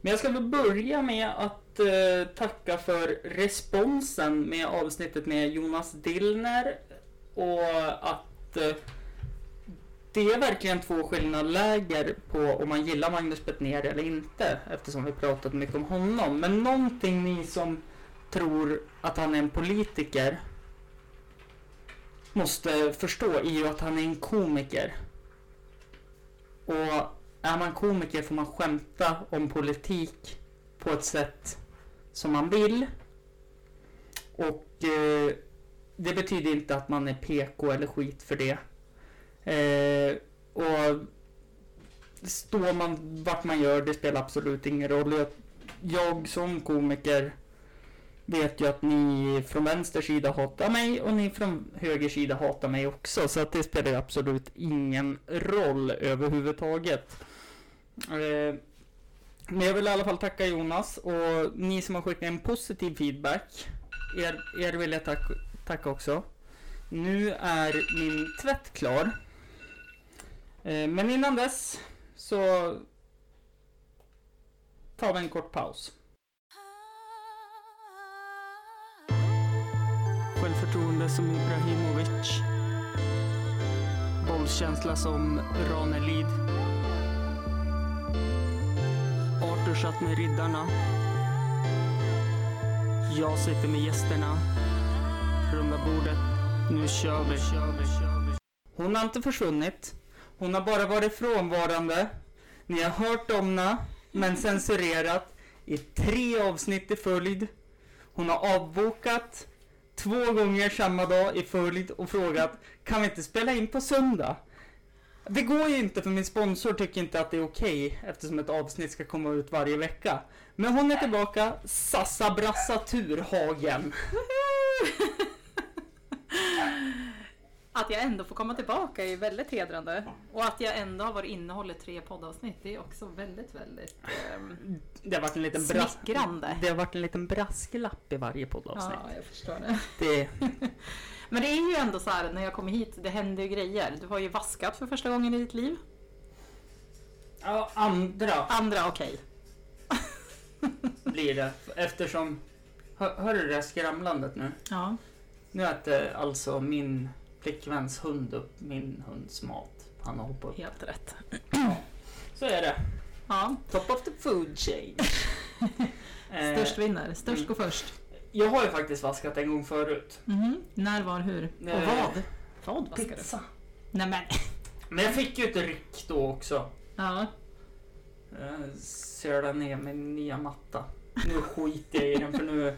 Men jag ska väl börja med att eh, tacka för responsen med avsnittet med Jonas Dillner. Och att eh, det är verkligen två skilda läger på om man gillar Magnus Bettner eller inte. Eftersom vi pratat mycket om honom. Men någonting ni som tror att han är en politiker måste förstå är ju att han är en komiker. Och är man komiker får man skämta om politik på ett sätt som man vill. Och eh, det betyder inte att man är PK eller skit för det. Eh, och står man vart man gör, det spelar absolut ingen roll. Jag, jag som komiker vet ju att ni från vänster sida hatar mig och ni från höger sida hatar mig också. Så att det spelar ju absolut ingen roll överhuvudtaget. Eh, Men jag vill i alla fall tacka Jonas och ni som har skickat en positiv feedback. Er, er vill jag tack, tacka också. Nu är min tvätt klar. Eh, Men innan dess så tar vi en kort paus. Självförtroende som Ibrahimovic. Bollkänsla som Ranelid. Arthur satt med riddarna. Jag sitter med gästerna. Runda bordet. Nu kör vi. Hon har inte försvunnit. Hon har bara varit frånvarande. Ni har hört om henne, men censurerat i tre avsnitt i följd. Hon har avbokat två gånger samma dag i följd och frågat kan vi inte spela in på söndag? Det går ju inte för min sponsor tycker inte att det är okej eftersom ett avsnitt ska komma ut varje vecka. Men hon är tillbaka, Sassa Brassa Turhagen. Att jag ändå får komma tillbaka är ju väldigt hedrande. Och att jag ändå har varit innehållet tre poddavsnitt det är också väldigt, väldigt ehm, Det har varit en liten, bras- smickrande. det har varit en liten brasklapp i varje poddavsnitt. Ja, jag förstår det. Det, Men det är ju ändå så här när jag kommer hit, det händer ju grejer. Du har ju vaskat för första gången i ditt liv. ja, andra Andra okej. blir det eftersom... Hör, hör du det här skramlandet nu? Ja. Nu äter alltså min flickväns hund upp min hunds mat. Han har hoppat upp. Helt rätt. Så är det. Ja, Top of the food chain. Eh, störst vinner. Störst går först. jag har ju faktiskt vaskat en gång förut. Mhm. När, var, hur och Eh, vad? Vad vaskar du? Nej men. Men jag fick ju ett ryck då också. Ja. Eh, Söla ner min nya matta. Nu skiter jag i den för nu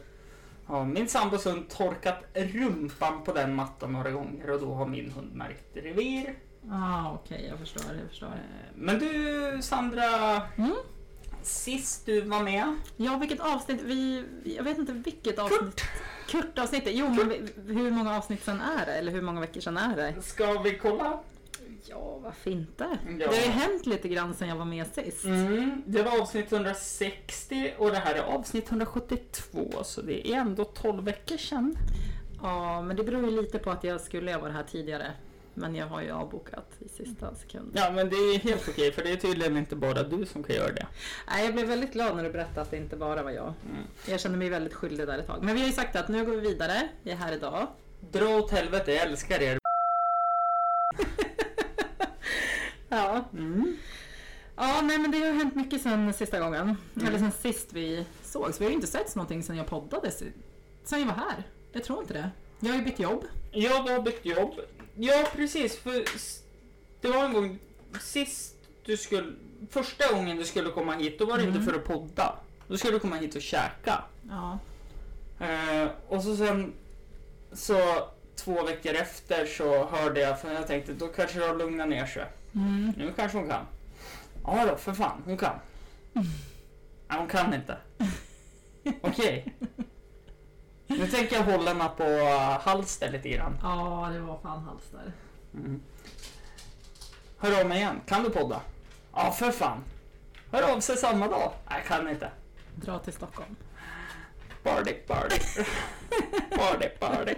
har min sambos hund torkat rumpan på den mattan några gånger och då har min hund märkt revir. Ah, okej, jag förstår. Jag förstår. Eh, Men du Sandra, Mm. sist du var med. Ja, vilket avsnitt? Vi, jag vet inte vilket avsnitt. Kurt avsnittet. Jo, men vi, hur många avsnitt sedan är det? Eller hur många veckor sedan är det? Ska vi kolla? Ja, varför inte? Ja. Det har ju hänt lite grann sedan jag var med sist. Mm, det var avsnitt 160 och det här är avsnitt 172 så det är ändå 12 veckor sedan. Ja, men det beror ju lite på att jag skulle ha varit här tidigare. Men jag har ju avbokat i sista sekund. Ja men det är helt okej för det är tydligen inte bara du som kan göra det. Nej, jag blev väldigt glad när du berättade att det inte bara var jag. Jag kände mig väldigt skyldig där ett tag. Men vi har ju sagt att nu går vi vidare. Vi är här idag. Dra åt helvete, jag älskar er. Ja. Mm. Ja, nej men det har hänt mycket sen sista gången. Eller sen sist vi sågs. Vi har ju inte setts någonting sen jag poddade. si- Sen jag var här. Jag tror inte det. Jag har ju bytt jobb. Jag har bytt jobb. Ja precis, för s- det var en gång sist du skulle, första gången du skulle komma hit då var det inte för att podda. Då skulle du komma hit och käka. Ja. Eh, och så sen så två veckor efter så hörde jag, för jag tänkte då kanske det har lugnat ner sig. Mm. Nu kanske hon kan. Ja då, för fan, hon kan. Nej, hon kan inte. Okej. Nu tänker jag hålla mig på eh, halster lite grann. Ja, det var fan hals där. Hör av mig igen. Kan du podda? Ja, för fan. Hör av sig samma dag. Nej, kan inte. Dra till Stockholm. Party, party. party, party.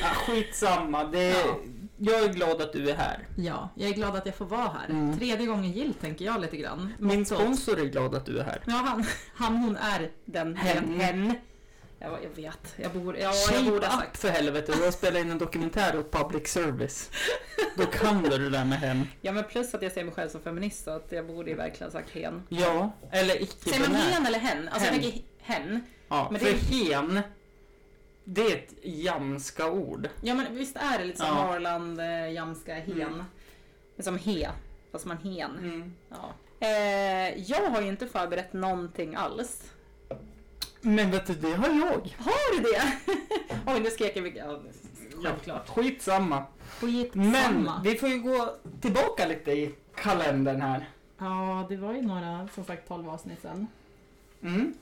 Ja, skitsamma. Det, Ja. jag är glad att du är här. Ja, jag är glad att jag får vara här. Mm. Tredje gången gilt tänker jag lite grann. Min Något sånt. sponsor är glad att du är här. Ja, han, han hon är den. Hen. hen. Jag, jag vet, jag borde, ja, jag Shape borde ha up sagt. för helvete, du har spelat in en dokumentär åt public service. Då kan du det där med hen. Ja, men plus att jag ser mig själv som feminist så att jag borde ju verkligen ha sagt hen. Ja, eller Säger man icke-binär. hen eller Typ hen? Alltså Hen. jag tänker hen. Ja, Men för det- hen, det är ett jamska ord. Ja men visst är det lite som Ja. Norrland, eh, jamska, hen. Mm. Men Som he, fast man hen. Ja. Eh, jag har ju inte förberett någonting alls. Men vet du, det har jag. Har du det? Oj, nu skrek jag mycket. Ja, självklart. Skitsamma. Skitsamma. Men vi får ju gå tillbaka lite i kalendern här. Ja, det var ju några, som sagt, 12 avsnitt sen. Mm.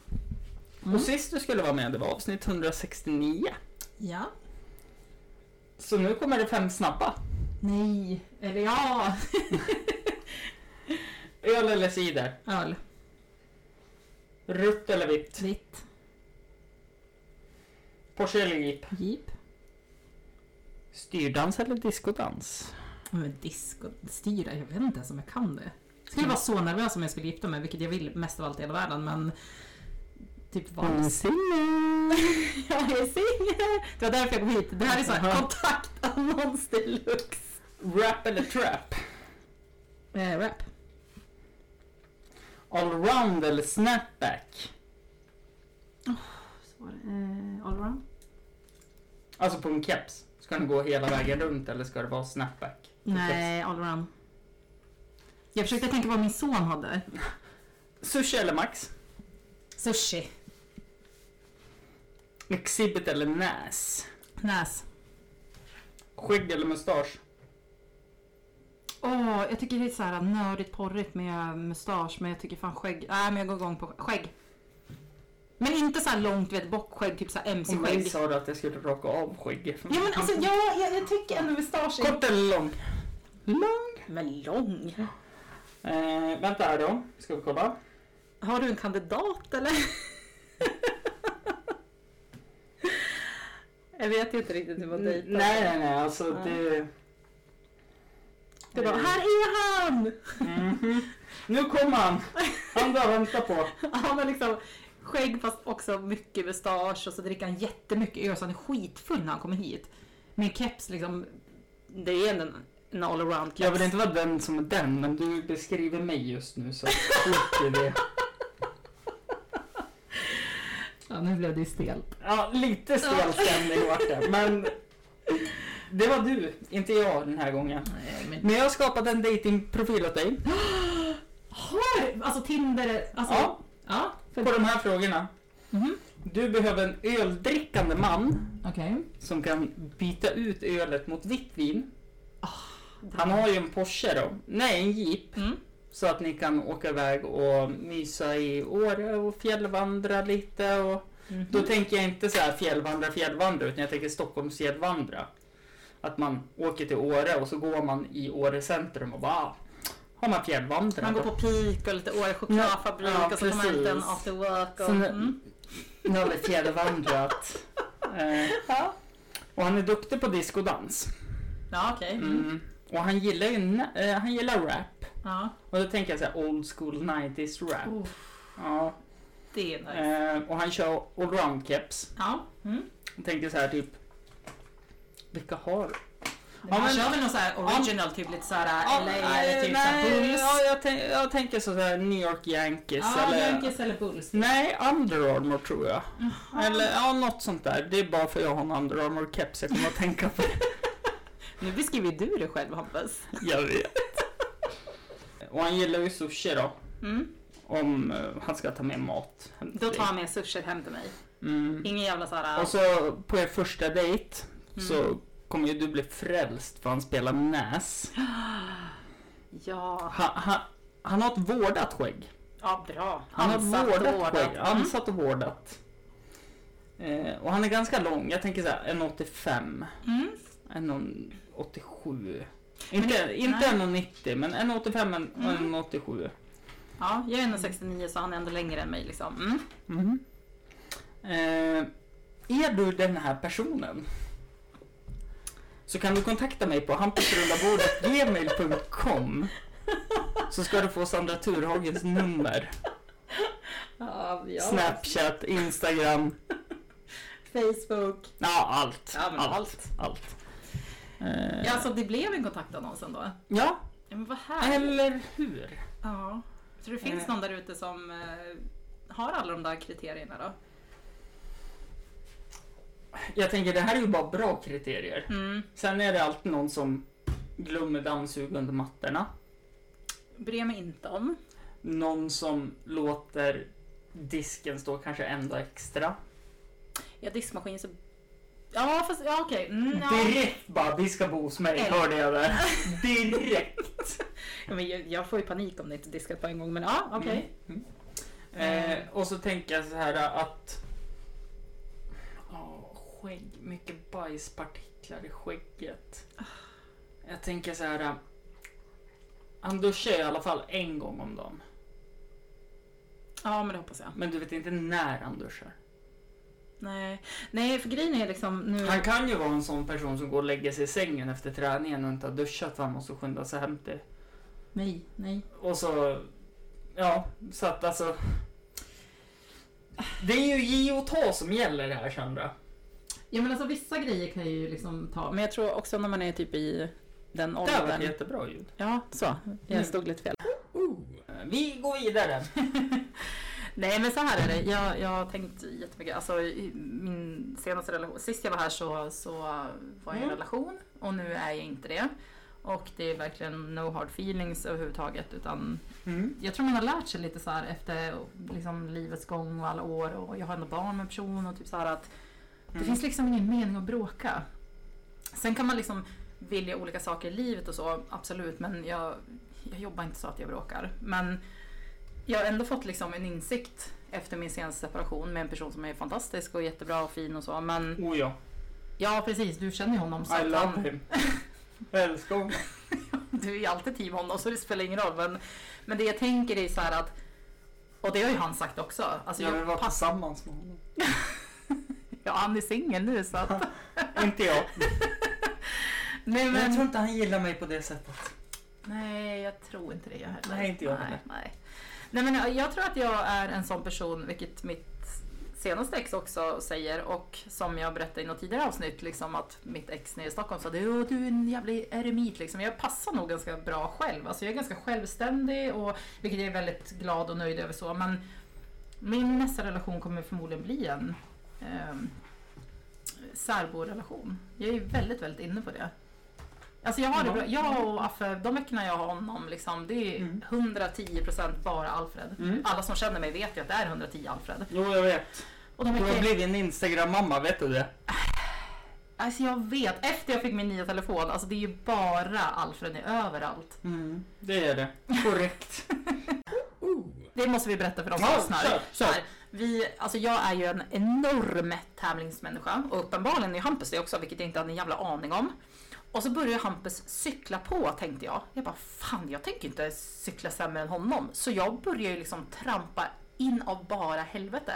Mm. Och sist du skulle vara med, det var avsnitt 169. Ja. Så nu kommer det fem snabba. Nej. Eller ja. Öl eller cider? Öl. Rött eller vitt? Vitt. Porsche eller Jeep? Jeep. Styrdans eller diskodans? Men diskostyra, jag vet inte ens om jag kan det. Jag skulle vara så nervös om jag skulle gifta mig, vilket jag vill mest av allt i hela världen, men typ vals. Jag är singel! Det var därför jag kom hit. Det här är så här Aha. kontaktannons deluxe. Rap eller trap? Eh, rap. Allround eller snapback? Eh, allround? Alltså på en keps. Ska den gå hela vägen runt eller ska det vara snapback? på Nej, allround. Jag försökte tänka vad min son hade. keps? Sushi eller Max? Sushi. Exhibit eller Näs? Näs. Skägg eller mustasch? Åh, jag tycker det är så här nördigt porrigt med mustasch, men jag tycker fan skägg. Nej, men jag går igång på skägg. Men inte så här långt, vet, bockskägg, typ så här Om mig mc-skägg. sa du att jag skulle raka av skägg. Ja, men alltså ja, jag, jag tycker ändå mustasch är... Kort eller lång? Lång. Men lång. Eh, vänta här då. Ska vi kolla? Har du en kandidat eller? jag vet inte riktigt hur man nej, dejtar. nej, nej. Alltså Ja. det... Det var, här är han! Mhm. Nu kommer han! Han du har väntat på. Han har liksom skägg fast också mycket mustasch och så dricker han jättemycket öl så han är skitfull när han kommer hit. Min keps liksom, det är ändå en, en allround keps. Jag vill inte vara den som är den, men du beskriver mig just nu så skit i det. Ja, nu blev det ju stelt. Ja, lite stel stämning vart det, men det var du, inte jag den här gången. Nej, men... Men jag har skapat en datingprofil åt dig Har Alltså Tinder, alltså... Ja. ja på för... de här frågorna. Mhm. Du behöver en öldrickande man Okej. som kan byta ut ölet mot vitt vin. Ah, Han har ju en Porsche då, nej en Jeep, Mm. så att ni kan åka iväg och mysa i Åre och fjällvandra lite. Och... Mhm. Då tänker jag inte så här fjällvandra, fjällvandra, utan jag tänker Stockholms fjällvandra. Att man åker till Åre och så går man i Åre centrum och bara "Ah, har man fjällvandrat. Man går då?" på pik och lite Åre chokladfabrik Ja, och så kommer man ut en precis. after work. Och, Sen- mm. Nu har vi fjällvandrat. eh, Ja, och han är duktig på diskodans. ja okej. Mm. Mm. Och han gillar ju na- eh, han gillar rap. Ja. Och då tänker jag så här old school 90s rap. Oh, Ja. det är nice. Eh, och han kör allround keps. Ja. Mm. Jag tänker så här typ. Vilka har Ja, men- men, kör väl någon sån här original, typ lite såhär Ja, LA eller nej, typ såhär nej, Bulls. ja, jag, tänk, jag tänker så här New York Yankees Ja, eller... Yankees eller Bulls. Nej, Under Armour tror jag. Eller ja, något sånt där. Det är bara för jag har en Under Armour keps jag kommer att tänka på. Nu beskriver ju du det själv Hampus. jag vet. Och han gillar ju sushi då. Mm. Om eh, han ska ta med mat. hem till Då dig. tar han med sushi hem till mig. mm. Ingen jävla såhär... Och så på er första dejt Mm. så kommer ju du bli frälst för han spelar näs. Ja, Han, han, han har ett vårdat skägg. ja bra. Han har Ansatt vårdat, och skägg. vårdat. Mm. Ansatt och vårdat. Eh, och han är ganska lång. Jag tänker så här 1,85. Mm. 1,87. Inte, inte 1,90 men 1,85 en- och Mm. 1,87. Ja, jag är 1,69 så han är ändå längre än mig liksom. Mm. Mhm. Eh, är du den här personen? så kan du kontakta mig på hampusrundabordet.gmail.com så ska du få Sandra Thurhagens nummer. Ja, ja. Snapchat, Instagram, Facebook. ja allt. Ja, men allt. allt. Eh, Ja, alltså det blev en kontaktannons ändå. ja, Ja, men vad härligt. eller hur? Ja. Så det finns Eh. någon där ute som eh, har alla de där kriterierna då? Jag tänker det här är ju bara bra kriterier. Mm. Sen är det alltid någon som glömmer dammsuga under mattorna. Bryr mig inte om. Någon som låter disken stå kanske en dag extra. Ja, diskmaskin så... Ja, fast ja, okej. Mm, ja. Direkt bara, vi ska bo hos mig, Eller- hörde jag där. Direkt. Ja, men jag, jag får ju panik om det inte diskat på en gång, men ja, okej. Mm. Mm. Eh, och så tänker jag så här äh, att... Oh, skägg, mycket bajspartiklar i skägget. Jag tänker så här... äh, Han duschar i alla fall en gång om dagen. Ja, men det hoppas jag. Men du vet inte när han duschar. Nej, Nej för grejen är liksom nu... Han kan ju vara en sån person som går och lägger sig i sängen efter träningen och inte har duschat för han måste skynda sig hem till. Nej, nej. Och så... Ja, så att alltså... Det är ju ge och ta som gäller här Sandra. Ja, men alltså vissa grejer kan jag ju liksom ta. typ. Men jag tror också när man är typ i den Det här var åldern. ett jättebra ljud. Ja, så. Mm. Jag stod lite fel. Vi går vidare. Nej, men så här är det. Jag, jag har tänkt jättemycket. Alltså, i min senaste relation. Sist jag var här så, så var jag i en Mm. relation och nu är jag inte det. Och det är verkligen no hard feelings överhuvudtaget utan Mm. jag tror man har lärt sig lite så här efter liksom, livets gång och alla år och jag har ändå barn med person och typ så här att Mm. det finns liksom ingen mening att bråka. Sen kan man liksom vilja olika saker i livet och så, absolut, men jag, jag jobbar inte så att jag bråkar. Men jag har ändå fått liksom en insikt efter min senaste separation med en person som är fantastisk och jättebra och fin och så. Men Oh ja, ja, precis, du känner ju honom. Så I att love han- him. Jag älskar honom. du är ju alltid team honom så det spelar ingen roll. Men, men det jag tänker är så här att, och det har ju han sagt också. Alltså, Jag vill jag, vara pass, tillsammans med honom. ja, han är singel nu så att, Inte jag. nej, Men jag tror men, inte han gillar mig på det sättet. nej, jag tror inte det jag heller. Nej, inte jag nej, heller. nej. nej, men jag tror att jag är en sån person, vilket mitt senaste ex också säger och som jag berättade i något tidigare avsnitt, liksom att mitt ex nere i Stockholm sa du, du är en jävla eremit liksom. Jag passar nog ganska bra själv. Alltså jag är ganska självständig och vilket jag är väldigt glad och nöjd över så. Men min nästa relation kommer förmodligen bli en eh, särborelation. Jag är väldigt, väldigt inne på det. Alltså jag har det Ja. bra. Jag och Affe, de veckorna jag har honom, liksom, det är Mm. 110% bara Alfred. Mm. Alla som känner mig vet ju att det är 110 Alfred. Jo, jag vet. Och de Du har är blivit en Instagram-mamma, vet du det? Alltså jag vet, efter jag fick min nya telefon, alltså det är ju bara Alfred är överallt. Mm, det är det. Korrekt. Det måste vi berätta för de som Ja, lyssnar. kör, kör. Här, Vi, alltså jag är ju en enorm tävlingsmänniska och uppenbarligen är Hampus det också, vilket jag inte hade en jävla aning om. Och så började Hampus cykla på tänkte jag. Jag bara, fan jag tänker inte cykla sämre än honom. Så jag började ju liksom trampa in av bara helvete.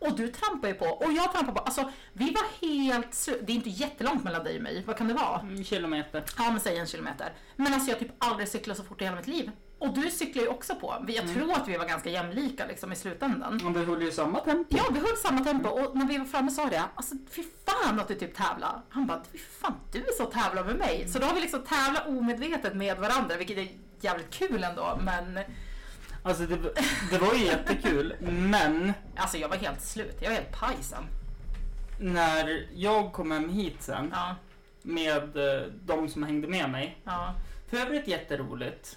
Och du trampar ju på och jag trampar på. Alltså vi var helt slut. Det är inte jättelångt mellan dig och mig. Vad kan det vara? Mm, kilometer. Ja men säg en kilometer. Men alltså jag har typ aldrig cyklat så fort i hela mitt liv. Och du cyklar ju också på. Vi- Jag Mm. tror att vi var ganska jämlika liksom i slutändan. Och vi höll ju samma tempo. Ja vi höll samma tempo och när vi var framme sa det alltså fy fan att du typ tävlar. Han bara fy fan du är så tävlar med mig. Så då har vi liksom tävlat omedvetet med varandra vilket är jävligt kul ändå men Alltså, det, det var ju jättekul, men alltså jag var helt slut. Jag var helt paj sen. när jag kom hem hit sen Ja, med eh, de som hängde med mig ja. För övrigt jätteroligt.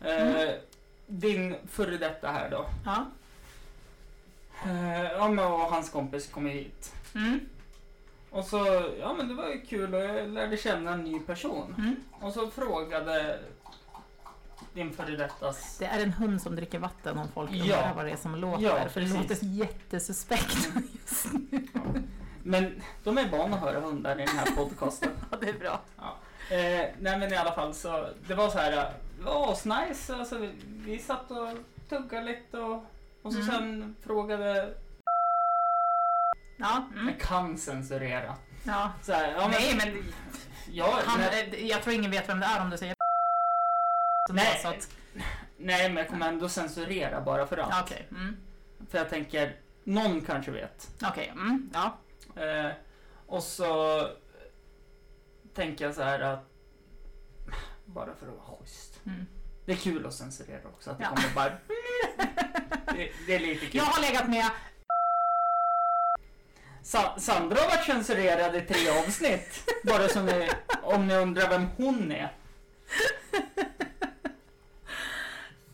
Eh, Din före detta här då. Ja. Eh, ja, men och hans kompis kom ju hit. Mm, Och så, ja men det var ju kul och jag lärde känna en ny person. mm. Och så frågade din före dettas... Det är en hund som dricker vatten om folk Ja. undrar vad det är som låter. Ja, för det låter precis. jättesuspekt just nu. Men de är vana att höra hundar i den här podcasten. Ja, det är bra. Eh, nej men i alla fall så, det var så här, eh, det var asnice. Alltså, vi, vi satt och tuggade lite och, och så Mm. sen frågade... Ja, mm. Jag kan censurera. Ja. Så här, ja, men, Nej, men ja, han, men- eh, jag tror ingen vet vem det är om du säger så Nej. Så att, nej, men jag kommer ändå censurera bara för allt. ja, Okej, mm, För jag tänker, någon kanske vet. okej, mm, ja. Eh, och så tänker jag så här att bara för att vara schysst. Mm. Det är kul att censurera också, att det Ja. kommer bara... Det, det är lite kul. Jag har legat med Sa- Sandra har varit censurerad i tre avsnitt. Bara som ni, om ni undrar vem hon är.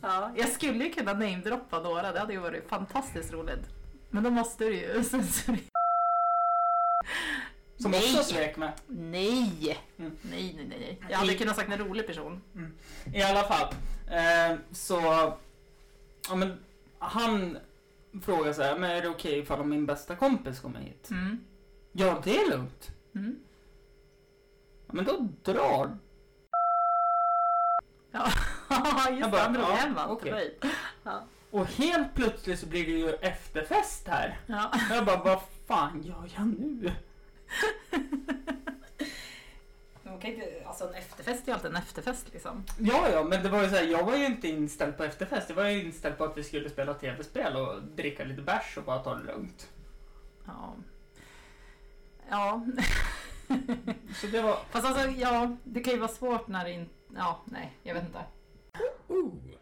Ja, jag skulle ju kunna namedroppa några, det hade ju varit fantastiskt roligt. Men då måste du ju censurera. Som Nej. också svek med. Nej. Mm. nej! Nej, nej, nej. Jag hade Nej. kunnat sagt en rolig person. I alla fall. Eh, så... Ja, men, han frågar så här, men är det okej ifall om min bästa kompis kommer hit? Mm. Ja, det är lugnt. Mm. Ja, Men då drar... Ja, Jag just det. bara, Han drog ja, hem allt okej. till mig. Och helt plötsligt så blir det ju efterfest här. Ja. Jag bara, vad fan gör jag nu? Man kan inte, alltså en efterfest är ju alltid en efterfest liksom. Ja, ja, men det var ju så här, jag var ju inte inställd på efterfest. Jag var ju inställd på att vi skulle spela tv-spel och dricka lite bärs och bara ta det lugnt. Ja. Ja, Så det var... fast alltså ja, det kan ju vara svårt när det inte... Ja, nej, jag vet inte.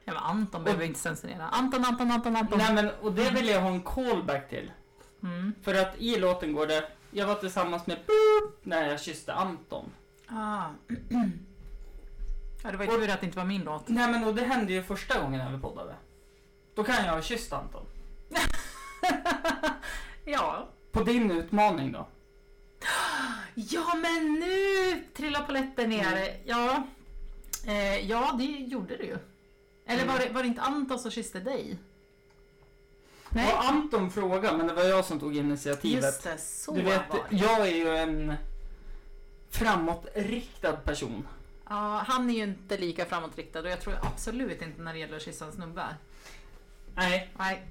Ja, men Anton behöver ju inte censurera. Anton, Anton, Anton, Anton. Nej, men och det vill jag ha en callback till. Mm. För att i låten går det, jag var tillsammans med Boop när jag kysste Anton. Ah. Ja, det var ju tur att det inte var min låt. Nej men och det hände ju första gången när vi poddade. Då kan jag ha kysst Anton. ja. På din utmaning då. ja, men nu trillar paletten ner. Mm. Ja. Eh, ja, det gjorde du ju. Eller var det, Mm. var det inte Anton som kysste dig? Det Nej, var Anton fråga men det var jag som tog initiativet. just det. Så du vet, var det. jag är ju en framåtriktad person. Ja, han är ju inte lika framåtriktad och jag tror absolut inte när det gäller att kyssa en snubbe. Nej, Nej.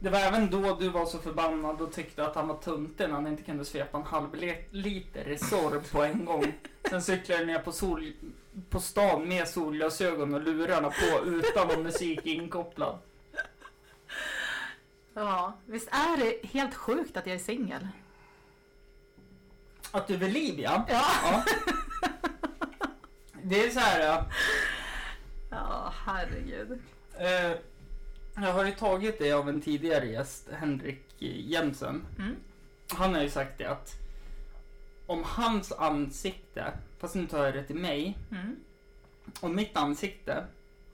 det var även då du var så förbannad och tyckte att han var tunten när han inte kunde svepa en halv le- liter Resorb på en gång. Sen cyklade jag ner på, sol, på stan med solglasögon och lurarna på utan någon musik inkopplad. Ja, visst är det helt sjukt att jag är singel? Att du är vid liv ja. Ja. ja. Det är så här. ja. Ja, herregud. Eh, jag har ju tagit det av en tidigare gäst, Henrik Jensen. Mm. Han har ju sagt det att om hans ansikte, fast nu tar jag det till mig, Mm. om mitt ansikte,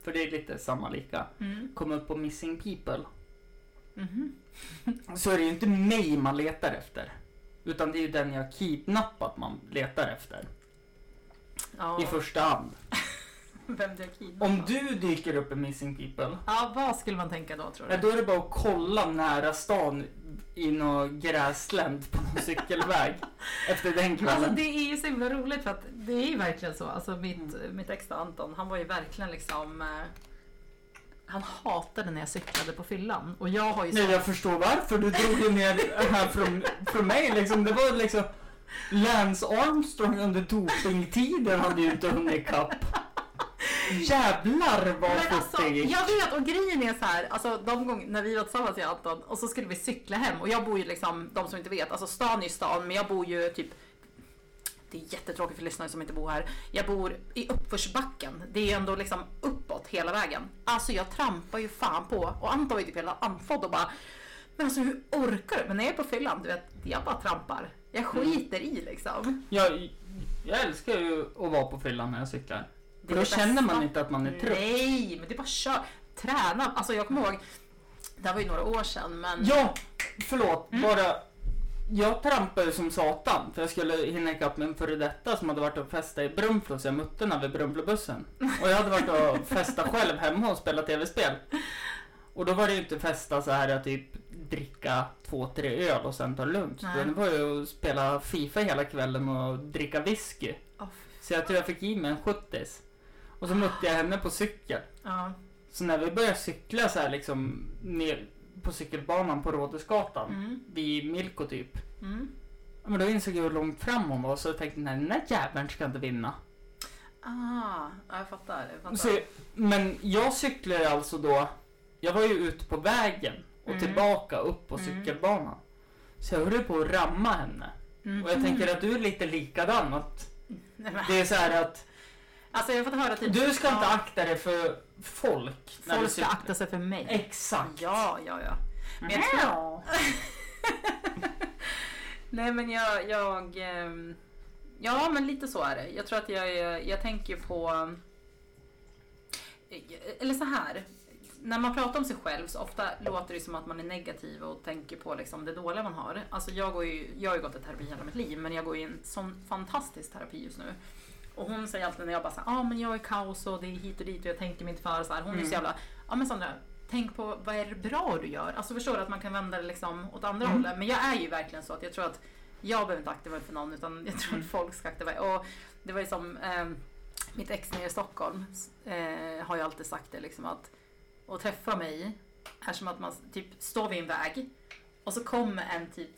för det är lite samma lika, Mm. kom upp på Missing People Mhm. så är det ju inte mig man letar efter. Utan det är ju den jag kidnappat man letar efter Ja. i första hand. Vem dök in? Om du dyker upp i Missing People, Ja, vad skulle man tänka då tror ja, du? då är det bara att kolla nära stan i någon gräsländ på någon cykelväg efter den Alltså kvällen. det är ju så himla roligt för att det är ju verkligen så. Alltså mitt, mitt ex då, Anton, han var ju verkligen liksom... Eh, han hatade när jag cyklade på fyllan. Och jag har ju... Nej, jag förstår varför. Du drog ju ner det här från, från mig liksom. Det var liksom Lance Armstrong under dopingtiden hade ju inte hunnit ikapp. Jävlar vad Men fort alltså, det gick. jag vet och grejen är så här, alltså de gånger när vi var tillsammans jag och Anton och så skulle vi cykla hem och jag bor ju liksom, de som inte vet, alltså stan är ju stan men jag bor ju typ det är jättetråkigt för lyssnare som inte bor här. Jag bor i uppförsbacken. Det är ju ändå liksom uppåt hela vägen. Alltså jag trampar ju fan på och Anton var ju typ hela andfådd och bara Men alltså hur orkar du? Men när jag är på fyllan, du vet, jag bara trampar. Mm. Jag skiter i liksom. Jag, jag älskar ju att vara på fyllan när jag cyklar. Det För är då det känner man bästa. inte att man är trött. Nej, men det är bara kör. Träna. Alltså jag kommer ihåg, det här var ju några år sedan men Ja, förlåt. Bara, jag trampade ju som satan för jag skulle hinna ikapp min före detta som hade varit och festat i Brunflo så jag mötte henne vid Brunflobussen. Och jag hade varit och festat själv hemma och spelat tv-spel. Och då var det ju inte festa så här att typ dricka två, tre öl och sen ta det lugnt. Nej. Utan Det var ju att spela Fifa hela kvällen och dricka whisky. Åh, Så jag tror jag fick i mig en 70 Och så mötte jag henne på cykel. Ja. Så när vi började cykla så här liksom ner på cykelbanan på Rådhusgatan Mm. vid Milko typ. Mm. Ja, Men då insåg jag hur långt fram hon var så jag tänkte nej den där jäveln ska inte vinna. Ah, ja, jag fattar. Jag fattar. Så, men jag cyklade alltså då, jag var ju ute på vägen och Mm. tillbaka upp på Mm. cykelbanan. Så jag höll ju på att ramma henne. Mhm. Och jag tänker att du är lite likadan. Att Nej, men, det är så här att alltså jag har fått höra typ... du ska inte Ja, akta dig för folk. när du Folk ska cyklar. akta sig för mig. Exakt. Ja, ja, ja. Men jag tror- Ja. Nej men jag, jag... ehm, Ja men lite så är det. Jag tror att jag, är- jag tänker på... eh, Eller så här. När man pratar om sig själv så ofta låter det som att man är negativ och tänker på liksom det dåliga man har. Alltså jag, går ju, jag har ju gått i terapi hela mitt liv men jag går i en sån fantastisk terapi just nu. Och hon säger alltid när jag bara såhär, ja ah, men jag är kaos och det är hit och dit och jag tänker mig inte för. Så här. Hon är ju Mm. så jävla, ja men Sandra, tänk på vad är det bra du gör? Alltså förstår du att man kan vända det liksom åt andra Mm. hållet. Men jag är ju verkligen så att jag tror att jag behöver inte aktiva mig för någon utan jag Mm. tror att folk ska aktiva mig. Och det var ju som eh, mitt ex nere i Stockholm eh, har ju alltid sagt det liksom att att träffa mig är som att man typ står vid en väg och så kommer en typ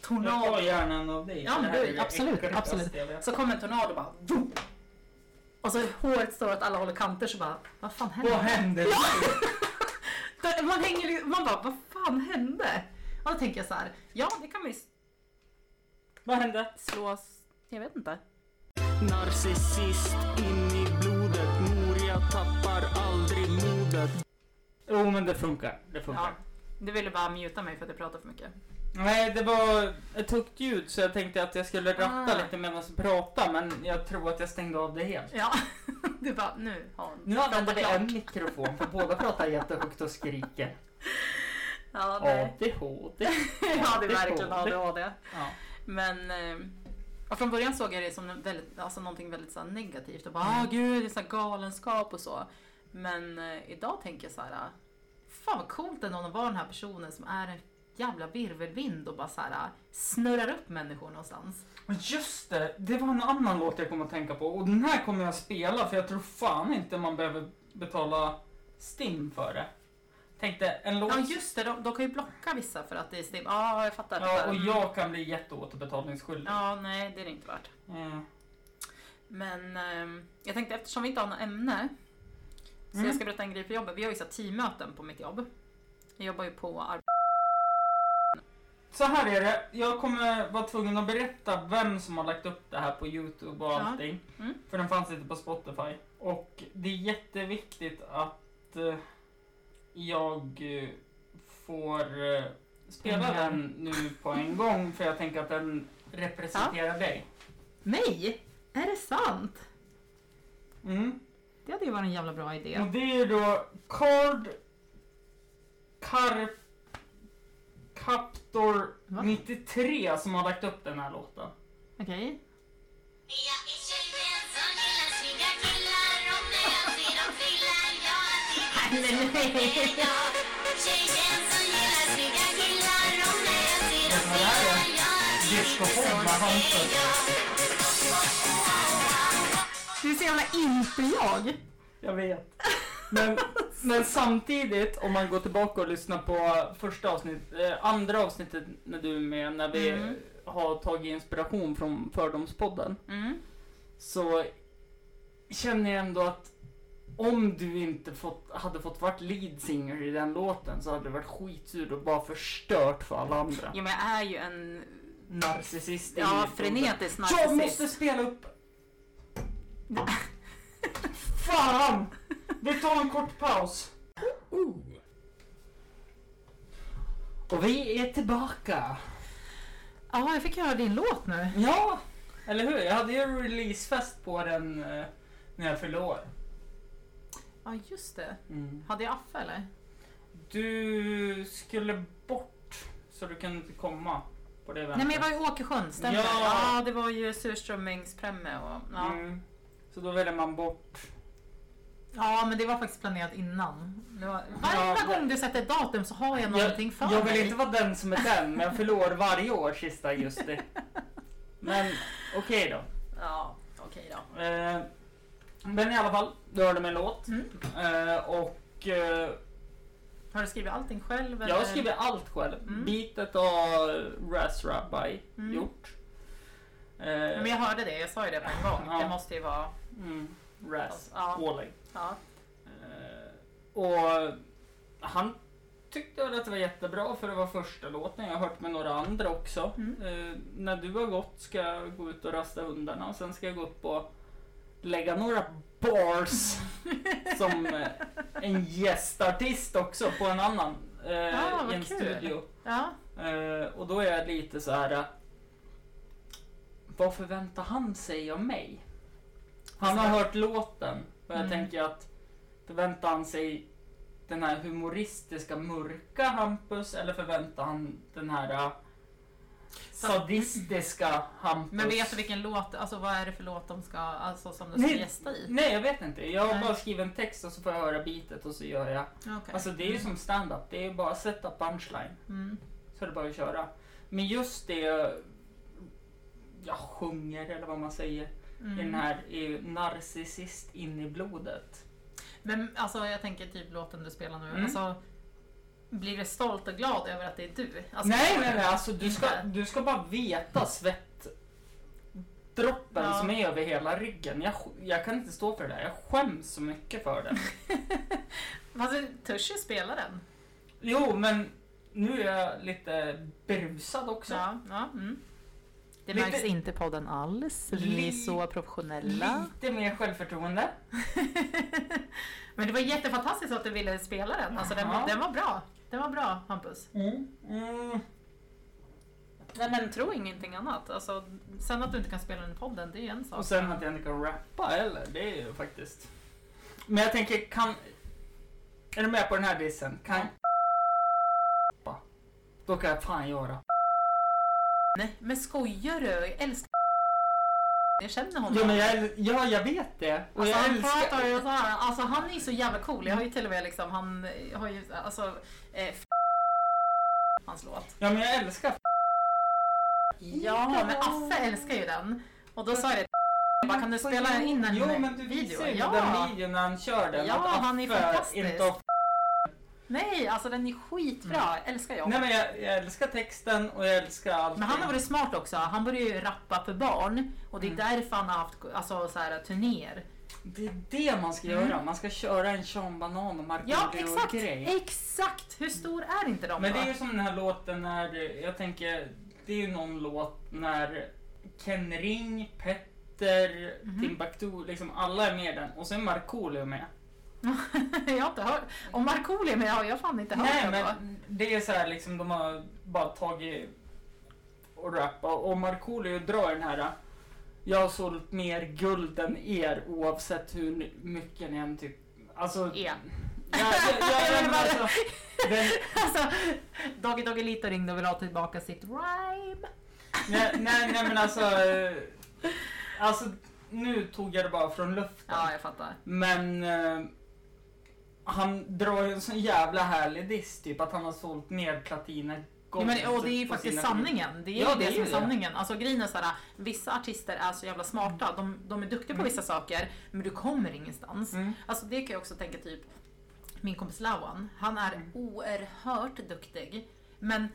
tornado. hjärnan av dig. Ja, men Det här du, är ju absolut, äckligaste absolut. jag vet. Så kommer en tornado och bara vroom. Och så håret står åt alla håll och kanter så bara, vad fan hände? Vad händer? Ja. Där- Man, hänger, liksom- man bara, vad fan hände? Och då tänker jag så här, ja det kan man ju Vad hände? slås, jag vet inte. Narcissist in i blodet, mor jag tappar aldrig modet Jo men det funkar. Det funkar. Ja, du ville bara muta mig för att jag pratar för mycket. Nej, det var ett högt ljud så jag tänkte att jag skulle ratta Ah. lite medan jag pratade men jag tror att jag stängde av det helt. Ja, du bara, nu har hon Nu använder vi pratat klart. en mikrofon för båda pratar jättehögt och skriker. Ja, det, ADHD. ja, det är det är verkligen dåligt. ADHD. Ja. Men eh, och från början såg jag det som en väldigt, alltså någonting väldigt så här negativt. Och bara, ah, gud, det är så här galenskap och så. Men eh, idag tänker jag så här, ah, fan vad coolt ändå att vara den här personen som är en jävla virvelvind och bara så här ah, snurrar upp människor någonstans. Och Just det, det var en annan låt jag kom att tänka på och den här kommer jag spela för jag tror fan inte man behöver betala STIM för det. Tänkte en låt Ja just det, de, de kan ju blocka vissa för att det är stim. Ja, jag fattar. Ja, och Mm. jag kan bli jätteåterbetalningsskyldig. Ja, nej det är det inte värt. Mm. Men ehm, jag tänkte eftersom vi inte har något ämne så Mm. jag ska berätta en grej på jobbet. Vi har ju så här teammöten på mitt jobb. Jag jobbar ju på ar- Så här är det, jag kommer vara tvungen att berätta vem som har lagt upp det här på Youtube och Ja. allting. Mm. För den fanns inte på Spotify. Och det är jätteviktigt att eh, jag eh, får eh, spela Pengar. den nu på en gång för jag tänker att den representerar dig. Nej! Är det sant? Mm. Det hade ju varit en jävla bra Och idé. det är ju då Card Carp Captor Va? 93 som har lagt upp den här låten. Okej. Jag är tjejen som gillar snygga killar och när jag ser dem trillar jag alltid är jag. Tjejen som gillar snygga killar och när jag ser dem trillar jag alltid Discofon med Hansson. Det är så jävla inte jag! Jag vet. Men, men samtidigt, om man går tillbaka och lyssnar på första avsnitt, eh, andra avsnittet när du är med, när vi Mm. har tagit inspiration från Fördomspodden, Mm. så känner jag ändå att om du inte fått, hade fått varit lead singer i den låten så hade du varit skitsur och bara förstört för alla andra. Jo men jag är ju en Narcissist. är ja, ju- frenetisk Jag narcissist. måste spela upp... Fan! Vi tar en kort paus. Och vi är tillbaka. Ja, jag fick höra din låt nu. Ja, eller hur? Jag hade ju en releasefest på den eh, när jag fyllde år. Mm. Ja, just det. Hade jag affe eller? Du skulle bort så du kunde inte komma på det Nej men jag var i Åkersjön, stämmer Ja. det? ja, det var ju surströmmingspremme och... Ja. Mm. Så då väljer man bort. ja, men det var faktiskt planerat innan. Det var... Varje Ja, det- gång du sätter ett datum så har jag någonting Jag, för jag vill mig. inte vara den som är den, men jag fyller år varje år sista augusti. Men okej då. Ja, okej då. Eh, men i alla fall, du hörde min låt. Mm. Eh, och eh, Har du skrivit allting själv? jag har skrivit allt själv. Mm. Beatet har Raz Rabbi Mm. gjort. Eh, Men jag hörde det, jag sa ju det på en gång. Ja. Det måste ju vara... mm, Raz, Ja. Åling. Ja. Eh, Och han tyckte väl att det var jättebra för det var första låten. Jag har hört med några andra också. Mm. Eh, när du har gått ska jag gå ut och rasta hundarna och sen ska jag gå upp och lägga några bars som eh, en gästartist också på en annan. eh, Ah, vad I en kul. studio. Ja. Eh, och då är jag lite så här. eh, Vad förväntar han sig av mig? Han har hört låten och jag Mm. tänker att förväntar han sig den här humoristiska mörka Hampus eller förväntar han den här eh, sadistiska Hampus? Men vet du vilken låt, alltså vad är det för låt de ska, alltså som de ska Nej. gästa i? Nej, jag vet inte. Jag har Nej. bara skrivit en text och så får jag höra bitet och så gör jag. Okej. Alltså det är ju som stand-up. Det är ju bara att sätta punchline. Mm. Så är det bara att köra. Men just det jag sjunger eller vad man säger Mm. i den här är ju narcissist in i blodet. Men alltså jag tänker typ låten du spelar nu, Mm. alltså blir du stolt och glad över att det är du? Alltså, nej, nej, nej, alltså du ska, Inte. du ska bara veta svettdroppen Ja. som är över hela ryggen. Jag, sk- jag kan inte stå för det där. Jag skäms så mycket för det. Fast du törs ju spela den. Jo, men nu är jag lite brusad också. Ja, ja, mm. Det Lite- märks inte i podden alls. Vi är Li- så professionella. Lite mer självförtroende. Men det var jättefantastiskt att du ville spela den. Alltså den, Jaha. den var bra. Den var bra Hampus. Mm. Nej men tro ingenting annat. Alltså, sen att du inte kan spela den i podden, det är ju en sak. Och sen att jag inte kan rappa heller, det är ju faktiskt... Men jag tänker, kan... Är du med på den här dissen? Kan... Rappa. Då kan jag fan göra. Nej, men skojar du? Jag älskar Jag känner honom. Jo, men jag, äl- ja, jag vet det. Och Alltså, jag han älskar... pratar ju så här. Alltså han är ju så jävla cool. Jag har ju till och med liksom, han har ju alltså... Eh, f- hans låt. Ja, men jag älskar... Ja, men Affe älskar ju den. Och då sa jag det. jag bara, Kan du spela in den Jo, men du visar videon? ju Ja. den videon när han kör den. Ja, att han är Affe fantastisk. Inte har- Nej, alltså den är skitbra. Älskar jag. Mm. Nej, men jag, jag älskar texten och jag älskar allt. Men han har varit smart också. Han började ju rappa för barn och det Mm. är därför han har haft alltså, så här, turnéer. Det är det man ska göra. Man ska köra en Sean Banan och Mm. Ja, Markoolio-grej. exakt! Exakt! Hur stor är inte de Men då? det är ju som den här låten när, jag tänker, det är ju någon låt när Ken Ring, Petter, Mhm. Timbuktu, liksom alla är med i den och sen Markoolio med. jag har inte hört. Om Markoolio är med har jag fan inte hört Nej det men då. det är så här liksom, de har bara tagit och rappat och Markoolio drar den här Jag har sålt mer guld än er oavsett hur mycket ni än typ, alltså. Ja. Jag, jag, jag, jag, men alltså, den, Alltså, Doggy Doggy Lito ringde och ville ha tillbaka sitt rhyme. nej, nej, nej men alltså. eh, Alltså nu tog jag det bara från luften. Ja, jag fattar. Men eh, han drar ju en sån jävla härlig diss typ att han har sålt mer platiner Ja, men, och det är ju på faktiskt sina- sanningen. Det är ju Ja, det, det är som är ju det. sanningen. Alltså grejen är så här, vissa artister är så jävla smarta. De, de är duktiga på vissa saker, men du kommer ingenstans. Mm. Alltså det kan jag också tänka typ, min kompis Lawan, han är Mm. oerhört duktig. Men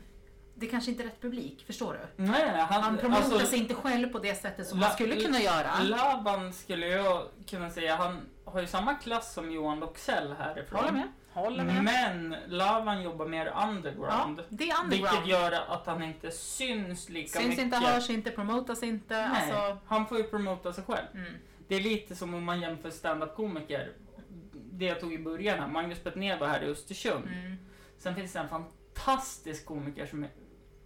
det kanske inte är rätt publik, förstår du? Nej, nej, han, Han promotar alltså, sig inte själv på det sättet som La- han skulle kunna göra. Laban skulle jag kunna säga, han har ju samma klass som Johan Doxell härifrån. Håller med. Håller med. Men Laban jobbar mer ja, underground. det är Vilket underground. gör att han inte syns lika Syns mycket. inte, hörs inte, promotas inte. Nej, Alltså, han får ju promota sig själv. mm. Det är lite som om man jämför standup-komiker. Det jag tog i början här, Magnus Betnér var här i Östersund. Mm. Sen finns det en fantastisk komiker som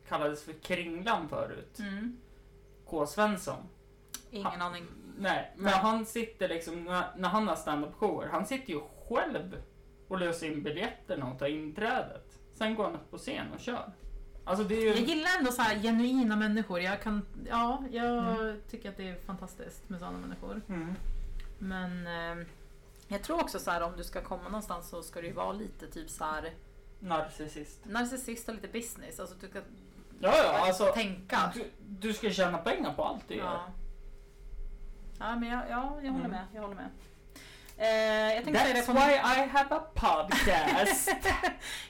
kallades för Kringlan förut. Mm. K. Svensson. Ingen aning. Nej, men han sitter liksom, när, när han har standup-shower, han sitter ju själv och löser in biljetterna och tar inträdet. Sen går han upp på scen och kör. Alltså det är Jag ju... gillar ändå så här genuina människor. Jag, kan, ja, jag tycker att det är fantastiskt med sådana människor. Mm. Men eh, jag tror också så här om du ska komma någonstans så ska du ju vara lite typ så här Narcissist. narcissist och lite business. Alltså du ska Ja, ja, alltså. tänka. Du, du ska tjäna pengar på allt du gör. Ja. ja, men jag, ja, jag håller Mm. med. Jag håller med. Eh, jag tänkte säga det That's på why I have a podcast.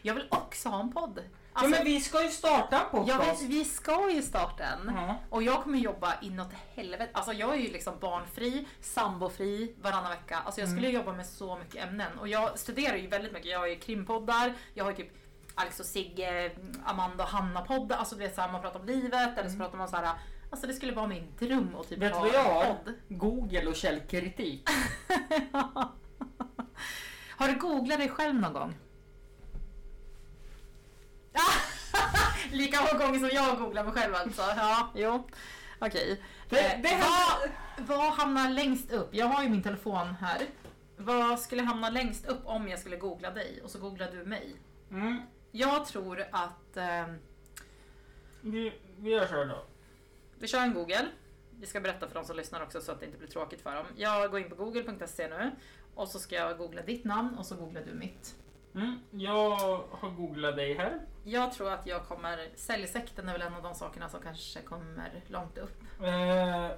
Jag vill också ha en podd. Alltså, ja, men vi ska Mm. ju starta en jag vet, podcast. vi ska ju starta en. Ja. Och jag kommer jobba inåt helvete. Alltså jag är ju liksom barnfri, sambofri varannan vecka. Alltså jag skulle Mm. jobba med så mycket ämnen. Och jag studerar ju väldigt mycket. Jag har ju krimpoddar, jag har ju typ Alex och Sigge, Amanda och Hanna poddar. Alltså du vet såhär, man pratar om livet eller så pratar man så här. Alltså det skulle vara min dröm att typ Mm. Vet du ha vad jag har? en podd. Google och källkritik. Har du googlat dig själv någon gång? Lika många gånger som jag googlar mig själv alltså. Ja, jo. Okej. Det- Eh, det här- vad, vad hamnar längst upp? Jag har ju min telefon här. Vad skulle hamna längst upp om jag skulle googla dig och så googlar du mig? Mm. Jag tror att eh, Vi, vi gör så här då. vi kör en Google. Vi ska berätta för de som lyssnar också så att det inte blir tråkigt för dem. Jag går in på google.se nu och så ska jag googla ditt namn och så googlar du mitt. Mm. Jag har googlat dig här. Jag tror att jag kommer, säljsekten är väl en av de sakerna som kanske kommer långt upp. Eh,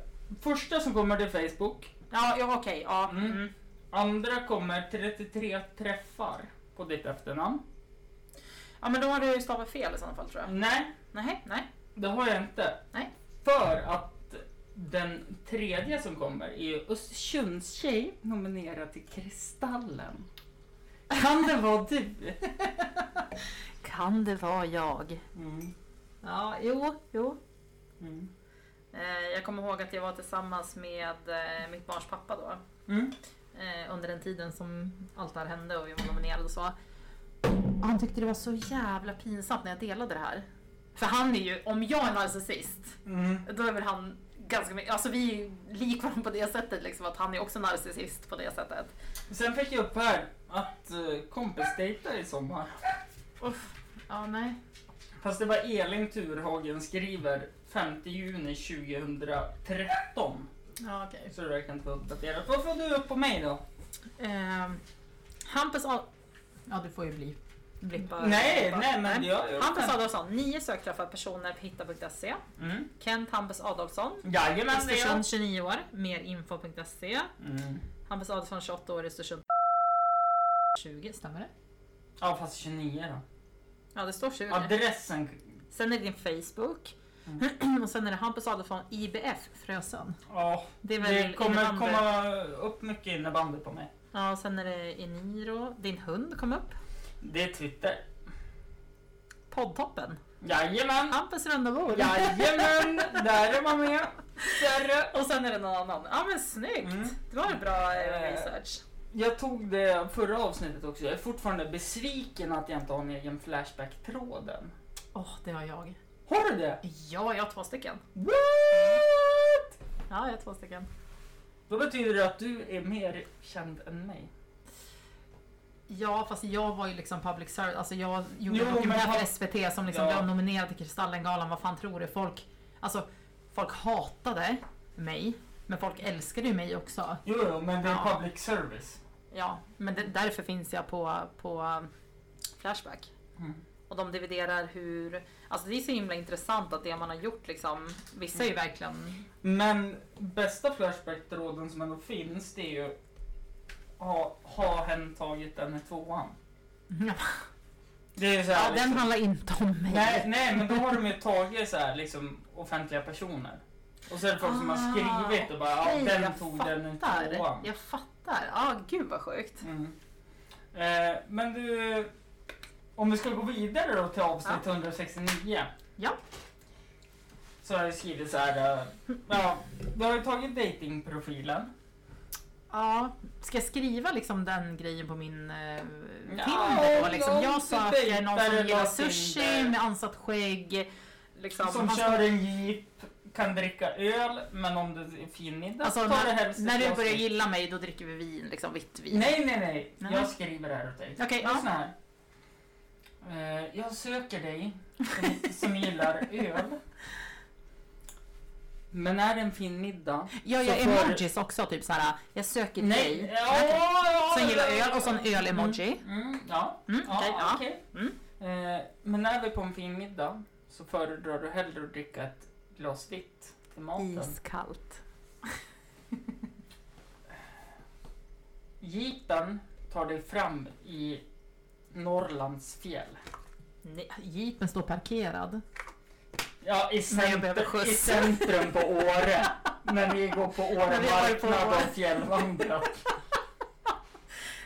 första som kommer till Facebook. Ja, ja okej, ja. Mm. Mm. Andra kommer 33 träffar på ditt efternamn. Ja men då har du ju stavat fel i sådana fall tror jag. Nej, Nej, nej. det har jag inte. Nej. För att den tredje som kommer är ju Östersunds tjej nominerad till Kristallen. Kan det vara du? Kan det vara jag? Mm. Ja, jo, jo. Mm. Eh, jag kommer ihåg att jag var tillsammans med eh, mitt barns pappa då. Mm. eh, under den tiden som allt det här hände och vi var nominerade och så. Och Han tyckte det var så jävla pinsamt när jag delade det här. För han är ju, om jag är narcissist, Mm. då är väl han ganska mycket, alltså vi är ju lik varandra på det sättet liksom att han är också narcissist på det sättet. Sen fick jag upp här att eh, kompisdejtar i sommar. Uff. Ja, nej. Fast det var Elin Turhagen skriver 5 juni 2013. Ja, okej. Så det där kan inte vara uppdaterat. Vad får du upp på mig då? Ehm, Hampus Ad... Ja, du får ju bli blippa. Nej, blippa. nej men jag gör Hampus Adolfsson, nio sökträffar personer på hitta.se. Mm. Kent Hampus Adolfsson, Jajamän det är jag. Östersund 29 år, merinfo.se. Mm. Hampus Adolfsson 28 år, Östersund 20, stämmer det? Ja fast 29 då. Ja, det står 20. Adressen. Sen är det din Facebook. Och sen är det Hampus Adolfsson, IBF, Frösön. Ja, Det är väl det kommer innebandy. komma upp mycket innebandy på mig. Ja, sen är det Eniro. Din hund kom upp. Det är Twitter. Poddtoppen. Jajamän! Hampus runda bord. Jajamän! Där är man med. Där. Och sen är det någon annan. Ja men snyggt! Mm. Det var en bra eh, Eh. research. Jag tog det förra avsnittet också. Jag är fortfarande besviken att jag inte har en egen Flashback-tråd än. Åh, det har jag. Har du det? Ja, jag har två stycken. What? Ja, jag har två stycken. Då betyder det att du är mer känd än mig. Ja, fast jag var ju liksom public service. Alltså jag gjorde Jo, jo, dokumentär men för pub- SVT som liksom Ja. blev nominerad till Kristallengalan. Vad fan tror du? Folk, alltså, folk hatade mig. Men folk älskade ju mig också. Jo, jo, men det är Ja. public service. Ja, men det, därför finns jag på, på um, Flashback. Mm. Och de dividerar hur... Alltså det är så himla intressant att det man har gjort liksom... Vissa är ju verkligen... Men bästa Flashback-tråden som ändå finns, det är ju ha, ha hen tagit den i tvåan. Mm. Det är ju så här, Ja, den liksom, handlar inte om mig. nej, nej, men då har de ju tagit så här, liksom, offentliga personer. Och så är det folk som har Ah, skrivit och bara, okej, ja, den jag tog fattar. den i tvåan. Jag fattar. Ja, gud vad sjukt. Mm. Eh, men du, om vi ska gå vidare då till avsnitt 169. Ja. Så har jag skrivit så här, eh, ja, du har ju tagit datingprofilen. Ja, ska jag skriva liksom den grejen på min eh, Ja, Tinder då? Liksom, ja, jag söker någon dejtar som gillar någon sushi Tinder. med ansatt skägg. Liksom, Som han- kör en jeep, kan dricka öl, men om det är fin middag alltså, tar det när, helst ett när du glas börjar vin. gilla mig då dricker vi vin, liksom vitt vin. Nej, nej, nej. Nej. Jag skriver det här åt dig. Okej, Lyssna ja. här. Eh, jag söker dig som, som gillar öl. Men är det en fin middag? Jag gör så får- emojis också, typ såhär, jag söker Nej. dig. Ja, Okej. ja, Som gillar ja. öl och så en öl-emoji. Mm, ja, Mm, ja, okej, ja. okej. Mm. Eh, men när vi är på en fin middag så föredrar du hellre att dricka ett glas vitt till maten. Iskallt. Jeepen tar dig fram i Norrlands fjäll. Nej, jeepen står parkerad. Ja, i, Men jag behöver centrum, skjuts. i centrum på Åre. När vi går på Åre När vi har varit på marknad Åre. och fjällvandrat.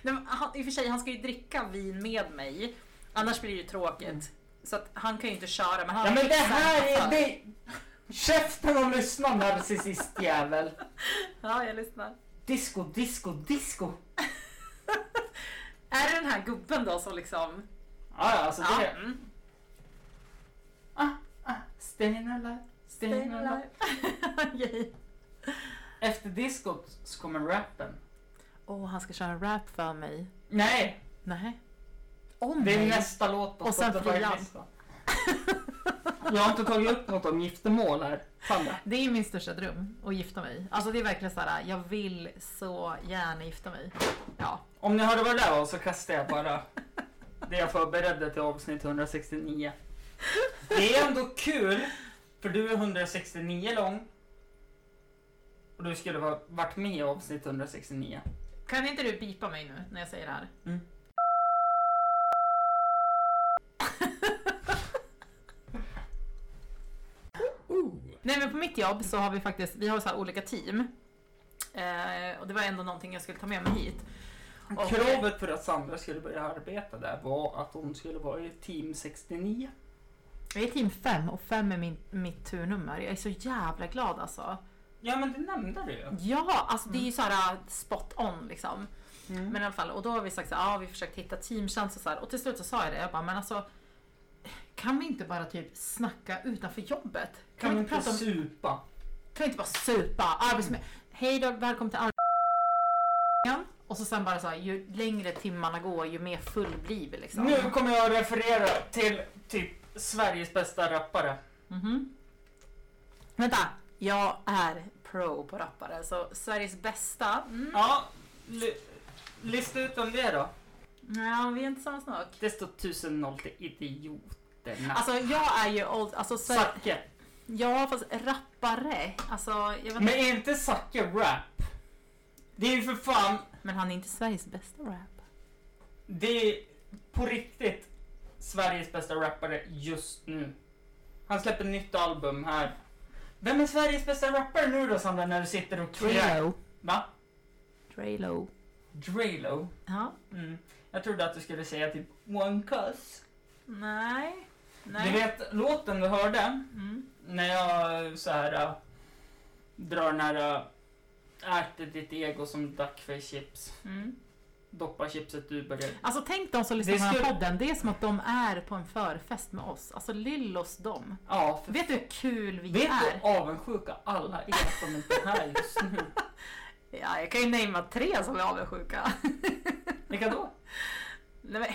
Nej, men han, I och för sig, han ska ju dricka vin med mig. Annars blir det ju tråkigt. Så att han kan ju inte köra. Men han Mm. Ja men det här är... Fan. Det... Käften och lyssna narcissistjävel. Ja, jag lyssnar. Disco, disco, disco. Är det den här gubben då som liksom... Ja, ja, alltså Ja, det... mm. Ah, ah, staying alive, staying alive. Okej. Efter diskot så kommer rappen. Åh, han ska köra en rap för mig. Nej, Nej. Om det är mig. nästa låt på Och sen frias. Spotify-listan. Jag har inte tagit upp något om giftermål här. Sandra. Det är min största dröm, att gifta mig. Alltså det är verkligen så här, jag vill så gärna gifta mig. Ja. Om ni hörde vad det där var så kastar jag bara det jag förberedde till avsnitt 169. Det är ändå kul, för du är 169 lång. Och du skulle ha varit med i avsnitt 169. Kan inte du bipa mig nu när jag säger det här? Mm. Nej men på mitt jobb så har vi faktiskt, vi har så här olika team. Eh, och det var ändå någonting jag skulle ta med mig hit. Och- Kravet för att Sandra skulle börja arbeta där var att hon skulle vara i team 69. Jag är team 5 och 5 är min, mitt turnummer. Jag är så jävla glad alltså. Ja men det nämnde du ju. Ja, alltså det är ju så här spot on liksom. Mm. Men i alla fall, och då har vi sagt så här, ja vi har försökt hitta teamtjänst och så här. Och till slut så sa jag det, jag bara, men alltså kan vi inte bara typ snacka utanför jobbet? Kan, Kan vi du inte prata inte om, supa? kan vi inte bara supa? Arbetsmiljö. Hej då, välkommen till arbetsmiljön. Och så sen bara så här, ju längre timmarna går ju mer full blir vi liksom. Nu kommer jag att referera till typ Sveriges bästa rappare. Mhm. Vänta, jag är pro på rappare, så Sveriges bästa? Mm. Ja, li- lista ut vem det är då. Ja, vi är inte samma smak. Det står 1000 till idioterna. Alltså jag är ju old, alltså Sver- Zacke. Ja, fast rappare. Alltså, jag vet Men inte. är inte Zacke rap? Det är ju för fan, Men han är inte Sveriges bästa rap. det är på riktigt Sveriges bästa rappare just nu. Han släpper nytt album här. Vem är Sveriges bästa rappare nu då Sandra när du sitter och krä- Draylo. Va? Draylo. Draylo? Ja. Mm. Jag trodde att du skulle säga typ One Cuss. Nej. Du Nej. vet låten du hörde? Mm. När jag så här äh, drar den här äh, äter ditt ego som duck för chips. Mm. Doppa chipset du börjar. Alltså tänk de som lyssnar Det på den här skulle- podden. Det är som att de är på en förfest med oss. Alltså lillos dem. Ja, för Vet du hur kul vi vet är? du avundsjuka alla er som inte är här just nu? Ja, jag kan ju namea tre som är avundsjuka. Vilka då? Nej, men,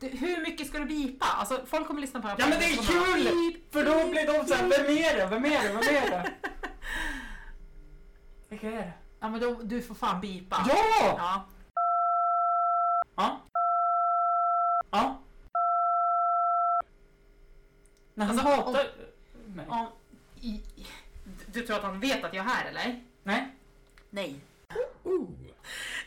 du, hur mycket ska du bipa? Alltså folk kommer lyssna på den Ja här men det är podden och bara, kul! För då blir de såhär, vem är det? Vem är det? Vem är det? Vilka är det? Ja men då, du får fan bipa. Ja! Ja. Ja. Ja. Nej, han Alltså, hatar mig. Om, i, i- du- du tror att han vet att jag är här eller? Nej. Nej.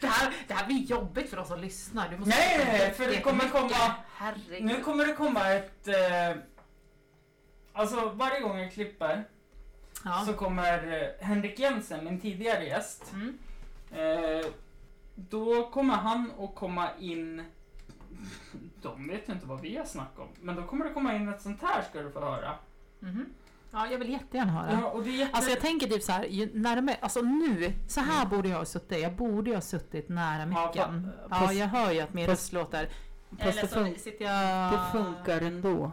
Det, här, det här blir jobbigt för de som lyssnar. Du måste Nej, nej, nej, för det kommer komma- Herregud. Nu kommer det komma ett... Eh, alltså varje gång jag klipper ja. så kommer eh, Henrik Jensen, min tidigare gäst, Mm. eh, då kommer han att komma in... De vet ju inte vad vi har snackat om, men då kommer det komma in ett sånt här ska du få höra. Mhm. ja, jag vill jättegärna höra. Ja, och det är jätte... Alltså jag tänker typ så här, ju närmare, alltså nu, så här borde jag ha suttit. Jag borde ju ha suttit nära Mm. Ja, micken. fa- Ja, fast- jag hör ju att min fast- röst låter. Eh, Fast Eller det, så fun- sitter jag... det funkar ändå.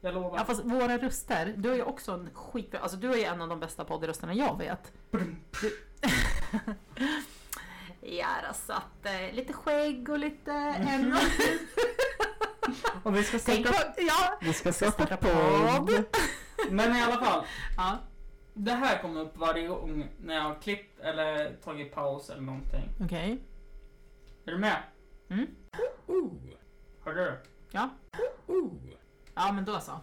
jag lovar. Ja fast våra röster, du är ju också en skit... Alltså du är ju en av de bästa poddrösterna jag vet. ja då, så att eh, lite skägg och lite... Mm. Och vi ska Tänk på... starta, Ja! vi ska starta starta podd. podd. Men i alla fall, Ja. det här kommer upp varje gång när jag har klippt eller tagit paus eller någonting. Okej. Är du med? Mm. Hörde du? Ja. Ja men då så.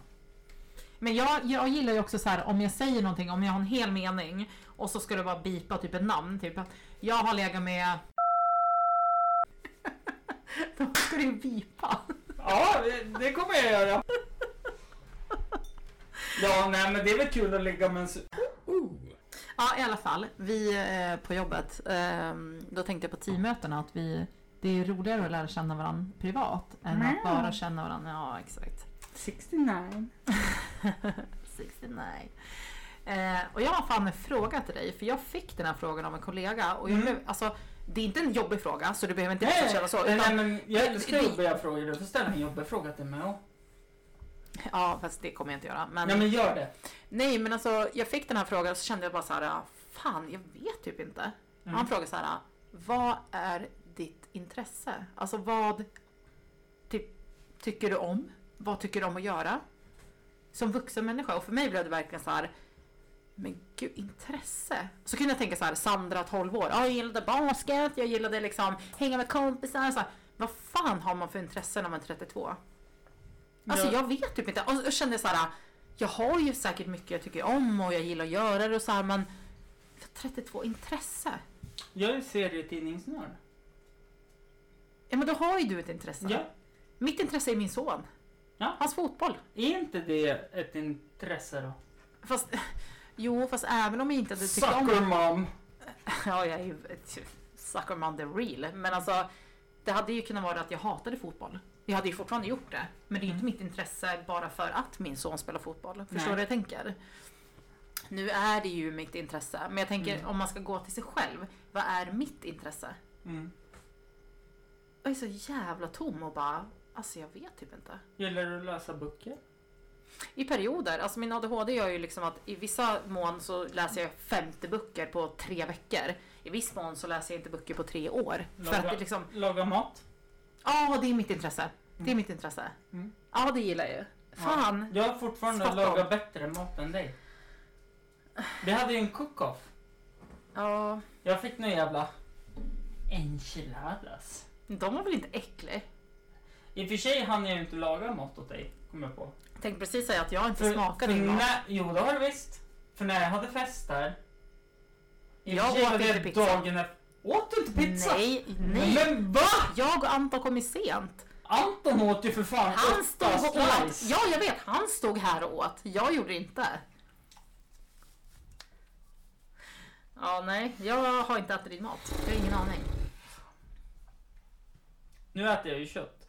Men jag, jag gillar ju också så här om jag säger någonting, om jag har en hel mening och så ska det bara bipa typ ett namn. Typ att jag har legat med... Då ska det ju bipa. Ja, Ja, det kommer jag göra. Ja, nej men det är väl kul att ligga med en su- Ja, i alla fall. Vi eh, på jobbet, ehm, då tänkte jag på teammötena att vi, det är roligare att lära känna varandra privat än Mm. att bara känna varandra. Ja, exakt. 69. 69. Eh, och jag har fan en fråga till dig, för jag fick den här frågan av en kollega och jag Mm. blev, alltså, det är inte en jobbig fråga så du behöver inte Nej, liksom känna så. nej, Utan, men jag älskar Det- jobbiga frågor. Du får ställa en jobbig fråga till mig också. ja, fast det kommer jag inte göra. Men, Nej men gör det. Nej, men alltså jag fick den här frågan och så kände jag bara så här, ah, fan jag vet typ inte. Mm. Han frågade så här, ah, vad är ditt intresse? Alltså vad typ, tycker du om? Vad tycker du om att göra? Som vuxen människa. Och för mig blev det verkligen så här, men gud, intresse. Så kunde jag tänka så här, Sandra 12 år, ah, jag gillade basket, jag gillade liksom hänga med kompisar. Så här, vad fan har man för intresse när man är 32? Alltså Ja. jag vet typ inte. Och jag kände så här, jag har ju säkert mycket jag tycker om och jag gillar att göra det och så här, men för 32 intresse? Jag är serietidningsnörd. Ja men då har ju du ett intresse. Ja. Mitt intresse är min son. Ja. Hans fotboll. Är inte det ett intresse då? Fast, jo fast även om jag inte hade tyckt om Sucker mom! Ja, jag är ju ett sucker man the real. Men alltså, det hade ju kunnat vara att jag hatade fotboll. Jag hade ju fortfarande gjort det. Men det är ju inte mitt intresse bara för att min son spelar fotboll. Förstår du Nej. vad jag tänker? Nu är det ju mitt intresse. Men jag tänker om man ska gå till sig själv. Vad är mitt intresse? Mm. Jag är så jävla tom och bara, alltså jag vet typ inte. Gillar du att läsa böcker? I perioder. Alltså min ADHD gör ju liksom att i vissa mån så läser jag 50 böcker på tre veckor. I viss mån så läser jag inte böcker på tre år. För att det liksom, Laga mat? Ja, det är mitt intresse. Det är mitt intresse. Mm. Ja, det gillar jag ju. Fan! Jag har fortfarande Spot on. lagat bättre mat än dig. Vi hade ju en cook-off. Ja. Jag fick någon jävla enchiladas. De var väl inte äcklig? I och för sig hann jag ju inte laga mat åt dig, kom jag på. Tänkte precis säga att jag inte smakar din mat. när, Jo, det har du visst. För när jag hade fest där. i och Jag för sig åt var det inte pizza. Dagen efter, åt du inte pizza? Nej, nej. Men va? Jag och Anton kom ju sent. Anton åt ju för fan Han åtta stod och åt. slice. Ja, jag vet. Han stod här och åt. Jag gjorde inte. Ja, nej. Jag har inte ätit din mat. Jag har ingen aning. Nu äter jag ju kött.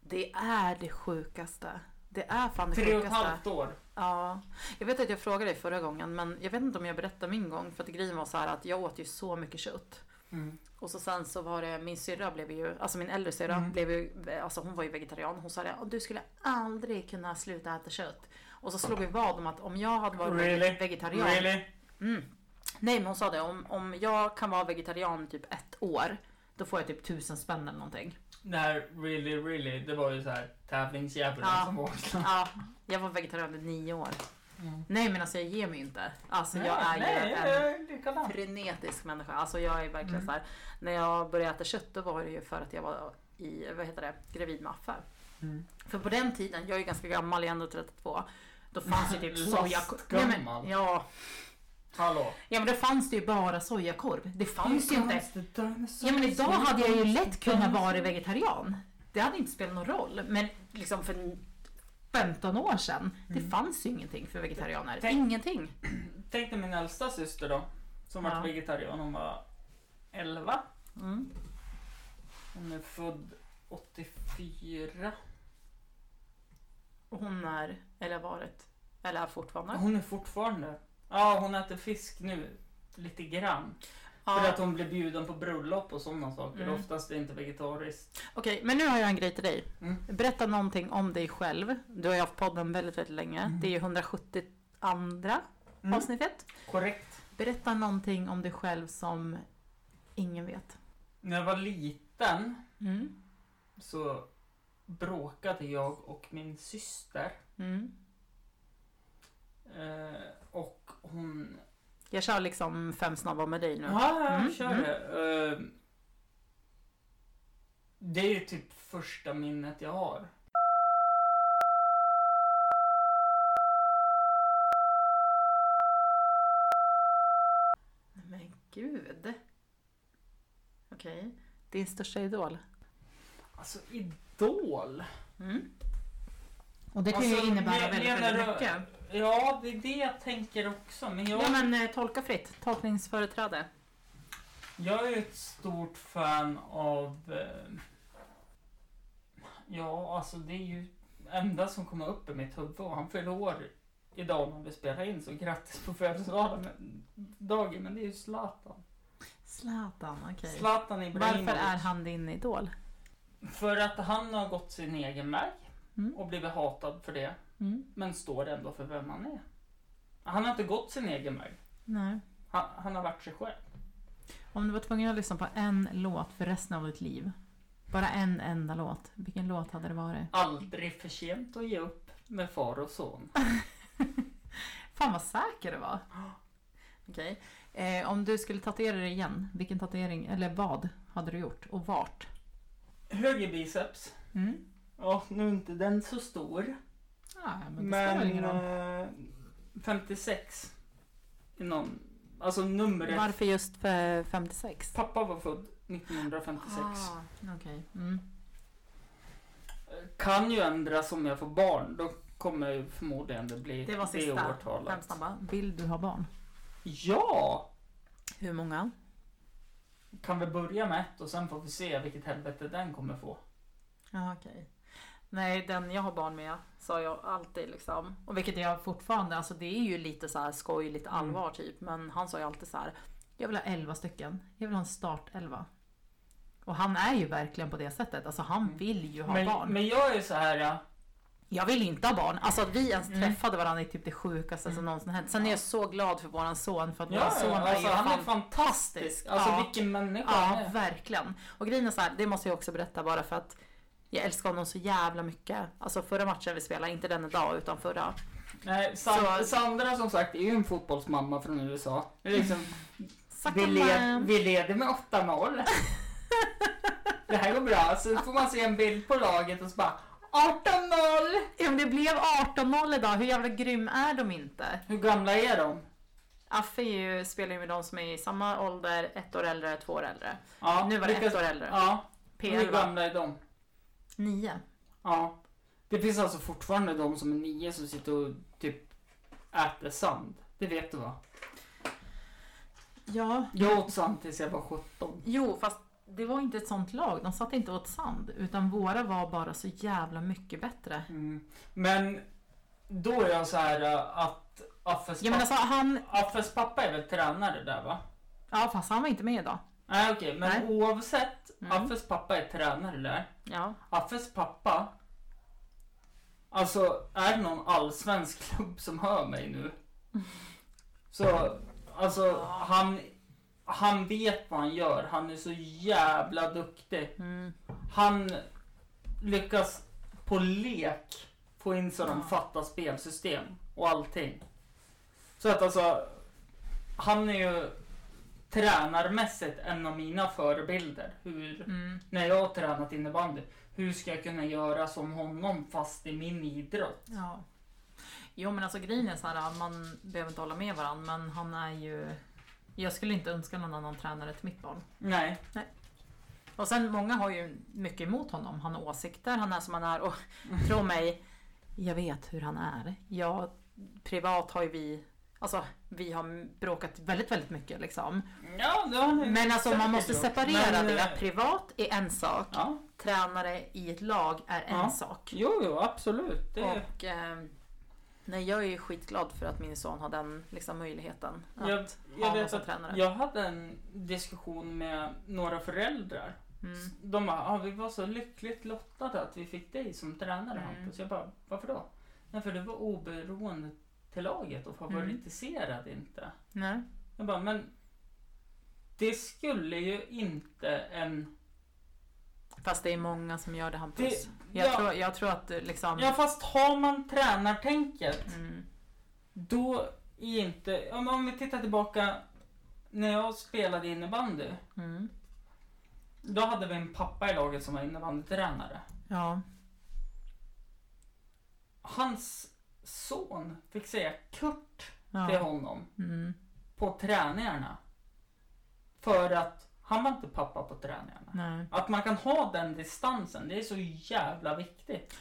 Det är det sjukaste. Det är fan det Tre och ett sjukaste. halvt år. Ja, jag vet att jag frågade dig förra gången men jag vet inte om jag berättade min gång för att grejen var så här att jag åt ju så mycket kött. Mm. Och så sen så var det min syrra blev ju, alltså min äldre syrra Mm. blev ju, alltså hon var ju vegetarian. Hon sa det, "Åh, du skulle aldrig kunna sluta äta kött. Och så slog vi vad om att om jag hade varit Really? vegetarian. Really? Mm. Nej men hon sa det, om, om jag kan vara vegetarian typ ett år, då får jag typ tusen spänn eller någonting. Det här really, really, det var ju så här tävlingsdjävulen Ja. som vaknade. Ja, jag var vegetarian i nio år. Mm. Nej men alltså jag ger mig ju inte. Alltså jag är nej, ju en... jag är likadan. frenetisk människa. Alltså jag är Mm. verkligen så här. När jag började äta kött då var det ju för att jag var i, vad heter det, gravid med Affe. Mm. För på den tiden, jag är ju ganska gammal, jag är ändå 32. Då fanns ju typ soja... Lastgammal. ja, Hallå. ja men då fanns det ju bara sojakorv. Det fanns ju inte. Ja men idag hade jag ju lätt kunnat vara vegetarian. Det hade inte spelat någon roll. Men liksom för 15 år sedan, det fanns ju ingenting för vegetarianer. Mm. Tänk- Ingenting. Tänk dig min äldsta syster då, som Ja. var vegetarian. Hon var 11. Mm. Hon är född 84. Och hon är, eller har varit, eller är fortfarande. Hon är fortfarande... Ja, hon äter fisk nu. Lite grann. Ja. För att hon blir bjuden på bröllop och sådana saker. Mm. Oftast är det inte vegetariskt. Okej, men nu har jag en grej till dig. Mm. Berätta någonting om dig själv. Du har ju haft podden väldigt, väldigt länge. Det är ju 170 andra Mm. avsnittet. Korrekt. Berätta någonting om dig själv som ingen vet. När jag var liten Mm. så bråkade jag och min syster. Mm. Eh, och hon... Jag kör liksom fem snabba med dig nu. Ja, ja, Mm, kör mm. det. Eh, det är ju typ första minnet jag har. Men gud. Okej. Din största idol. Alltså Idol. Mm. Och det kan Alltså, ju innebära men- väldigt, menar väldigt du- mycket. Ja, det är det jag tänker också. Men jag, Ja men eh, tolka fritt, tolkningsföreträde. jag är ett stort fan av... Eh, ja, alltså det är ju enda som kommer upp i mitt huvud. Och han fyller år idag när vi spelar in, så grattis på födelsedagen. men- Dagen, men det är ju Zlatan. Zlatan, okej. Zlatan Ibrahimovic. Varför är han din idol? För att han har gått sin egen väg Mm. och blivit hatad för det. Mm. Men står ändå för vem han är. Han har inte gått sin egen väg. Nej. Han, han har varit sig själv. Om du var tvungen att lyssna på en låt för resten av ditt liv. Bara en enda låt. Vilken låt hade det varit? Aldrig för sent att ge upp med far och son. Fan vad säker du var. Okej. Eh, om du skulle tatuera dig igen, vilken tatuering, eller vad hade du gjort och vart? Höger biceps. Mm. Ja, nu är inte den så stor. Ja, men det spelar väl Men ingen roll. eh, 56. I någon, alltså numret. Varför just för 56? Pappa var född 1956. Ah, Okej. Mm. Kan ju ändras om jag får barn. Då kommer ju förmodligen det bli Det var sista. årtalet. Fem snabba. Vill du ha barn? Ja! Hur många? Kan vi börja med ett och sen får vi se vilket helvete den kommer få. Ja, okej. Nej, den jag har barn med sa jag alltid liksom. Och vilket jag fortfarande, alltså det är ju lite så här skoj, lite Mm. allvar typ. Men han sa ju alltid så här. Jag vill ha 11 stycken. Jag vill ha en start 11. Och han är ju verkligen på det sättet. Alltså han vill ju ha barn. Mm. Men, men jag är så här, ja. Jag vill inte ha barn. Alltså att vi ens Mm. träffade varandra är typ det sjukaste som någonsin hänt. Sen är jag så glad för våran son för att ja våran son är alltså, ju han är fan- fantastisk. Alltså Ja. vilken människa han Ja, är. verkligen. Och grejen är så här, det måste jag också berätta bara för att jag älskar honom så jävla mycket. Alltså förra matchen vi spelade, inte den idag utan förra. Nej, San- Så- Sandra som sagt är ju en fotbollsmamma från USA. Det är Liksom, vi, led, Sackamam! vi leder med 8-0. det här går bra. Så får man se en bild på laget och så bara 18-0! Ja, men det blev 18-0 idag, hur jävla grym är de inte? Hur gamla är de? Affe är ju, spelar ju med de som är i samma ålder, ett år äldre, två år äldre. Ja, Nu var det lyckas- ett år äldre. Ja, hur P11. gamla är de? Nio. Ja. Det finns alltså fortfarande de som är nio som sitter och typ äter sand. Det vet du va? Ja. Jag åt sand tills jag var 17. Jo, fast det var inte ett sånt lag. De satt inte åt sand. Utan våra var bara så jävla mycket bättre. Mm. Men då är jag så här äh, att Affes, Ja men alltså han... pappa, Affes pappa är väl tränare där va? Ja fast han var inte med idag. Nej okej, men Nej. oavsett. Mm. Affes pappa är tränare där. Ja. Affes pappa. Alltså är det någon allsvensk klubb som hör mig nu? Så alltså han, han vet vad han gör. Han är så jävla duktig. Mm. Han lyckas på lek få in så de fattar spelsystem och allting. Så att alltså, han är ju tränarmässigt en av mina förebilder. Hur, Mm. när jag har tränat innebandy, hur ska jag kunna göra som honom fast i min idrott? Ja. Jo men alltså grejen är så här, man behöver inte hålla med varandra men han är ju... Jag skulle inte önska någon annan tränare till mitt barn. Nej. Och sen många har ju mycket emot honom. Han har åsikter, han är som han är och Mm. tro mig, jag vet hur han är. Jag, privat har ju vi, alltså vi har bråkat väldigt, väldigt mycket liksom. Ja, det har ni Men alltså man säkert måste gjort. separera Mm, Men, det. eh, Privat är en sak, Ja, tränare i ett lag är en Ja. sak. jo, jo, absolut. Det, Och eh, nej, jag är ju skitglad för att min son har den liksom, möjligheten att Jag- jag ha någon vet som att tränare. Jag hade en diskussion med några föräldrar. Mm. De bara, ah, vi var så lyckligt lottade att vi fick dig som tränare Mm. Hampus. Jag bara, varför då? Nej, för du var oberoende till laget och Mm. favoritiserad inte. Nej. Jag bara, men det skulle ju inte en... Fast det är många som gör det Hampus. Det, Jag, ja, tror, jag tror att eh, liksom... ja, fast har man tränartänket Mm. då är inte... ja, men Om vi tittar tillbaka när jag spelade innebandy. Mm. Då hade vi en pappa i laget som var innebandytränare. Ja. Hans son fick säga Kurt till ja. honom Mm. på träningarna. För att Han var inte pappa på träningarna. Nej. Att man kan ha den distansen, det är så jävla viktigt.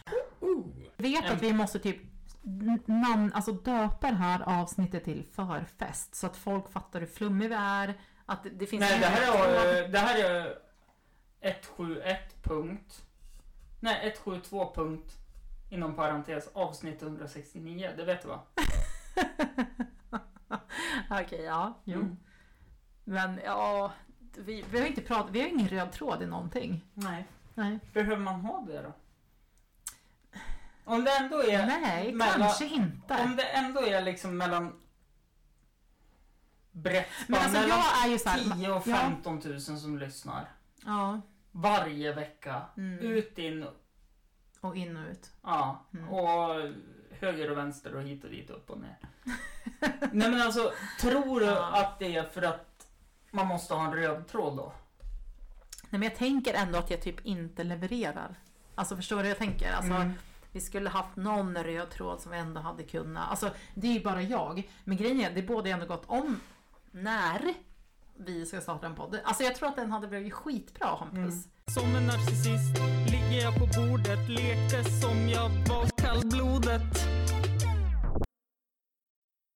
Vet att vi måste typ n- namn, alltså döpa det här avsnittet till förfest så att folk fattar hur flummig vi är. Att det, det finns Nej, en- det här är, eh, det här är 171 punkt. Nej, 172 punkt. Inom parentes avsnitt 169, det vet du va? Okej, ja. Jo. Mm. Men ja, vi, vi har inte pratat, vi har ingen röd tråd i någonting. Nej. Nej, Behöver man ha det då? Om det ändå är... Nej mellan- kanske inte. Om det ändå är liksom mellan brett spann, men alltså mellan jag är ju så här, 10 och ja. 15 000 som lyssnar ja, varje vecka. mm, Ut in, och in och ut. ja, Mm. och höger och vänster och hit och dit, upp och ner. Nej men alltså, tror du Ja. att det är för att man måste ha en röd tråd då? Nej, men jag tänker ändå att jag typ inte levererar. Alltså förstår du hur jag tänker? Alltså, Mm. Vi skulle haft någon röd tråd som vi ändå hade kunnat. Alltså det är ju bara jag. Men grejen är, det borde ju ändå gått om när vi ska starta en podd. Alltså jag tror att den hade blivit skitbra Hampus. Mm. Som en narcissist ligger jag på bordet, lekte som jag var kallblodet.